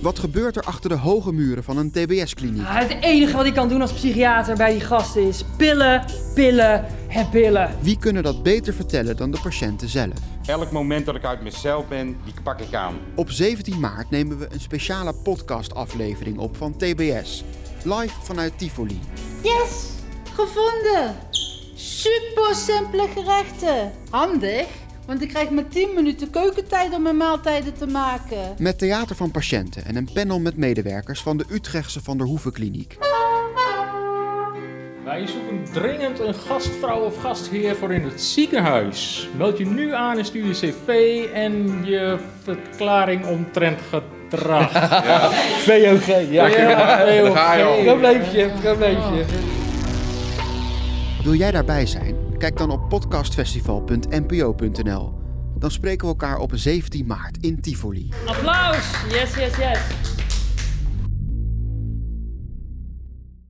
Wat gebeurt er achter de hoge muren van een TBS-kliniek? Ah, het enige wat ik kan doen als psychiater bij die gasten is pillen, pillen, herpillen. Wie kunnen dat beter vertellen dan de patiënten zelf? Elk moment dat ik uit mezelf ben, die pak ik aan. Op 17 maart nemen we een speciale podcastaflevering op van TBS. Live vanuit Tivoli. Yes, gevonden! Super simpele gerechten. Handig, want ik krijg maar 10 minuten keukentijd om mijn maaltijden te maken. Met theater van patiënten en een panel met medewerkers van de Utrechtse Van der Hoeven Kliniek. Wij zoeken dringend een gastvrouw of gastheer voor in het ziekenhuis. Meld je nu aan en stuur je cv en je verklaring omtrent gedrag. VOG, ja. Heel veel. Probleempje, probleempje. Wil jij daarbij zijn? Kijk dan op podcastfestival.npo.nl. Dan spreken we elkaar op 17 maart in Tivoli. Applaus! Yes, yes, yes.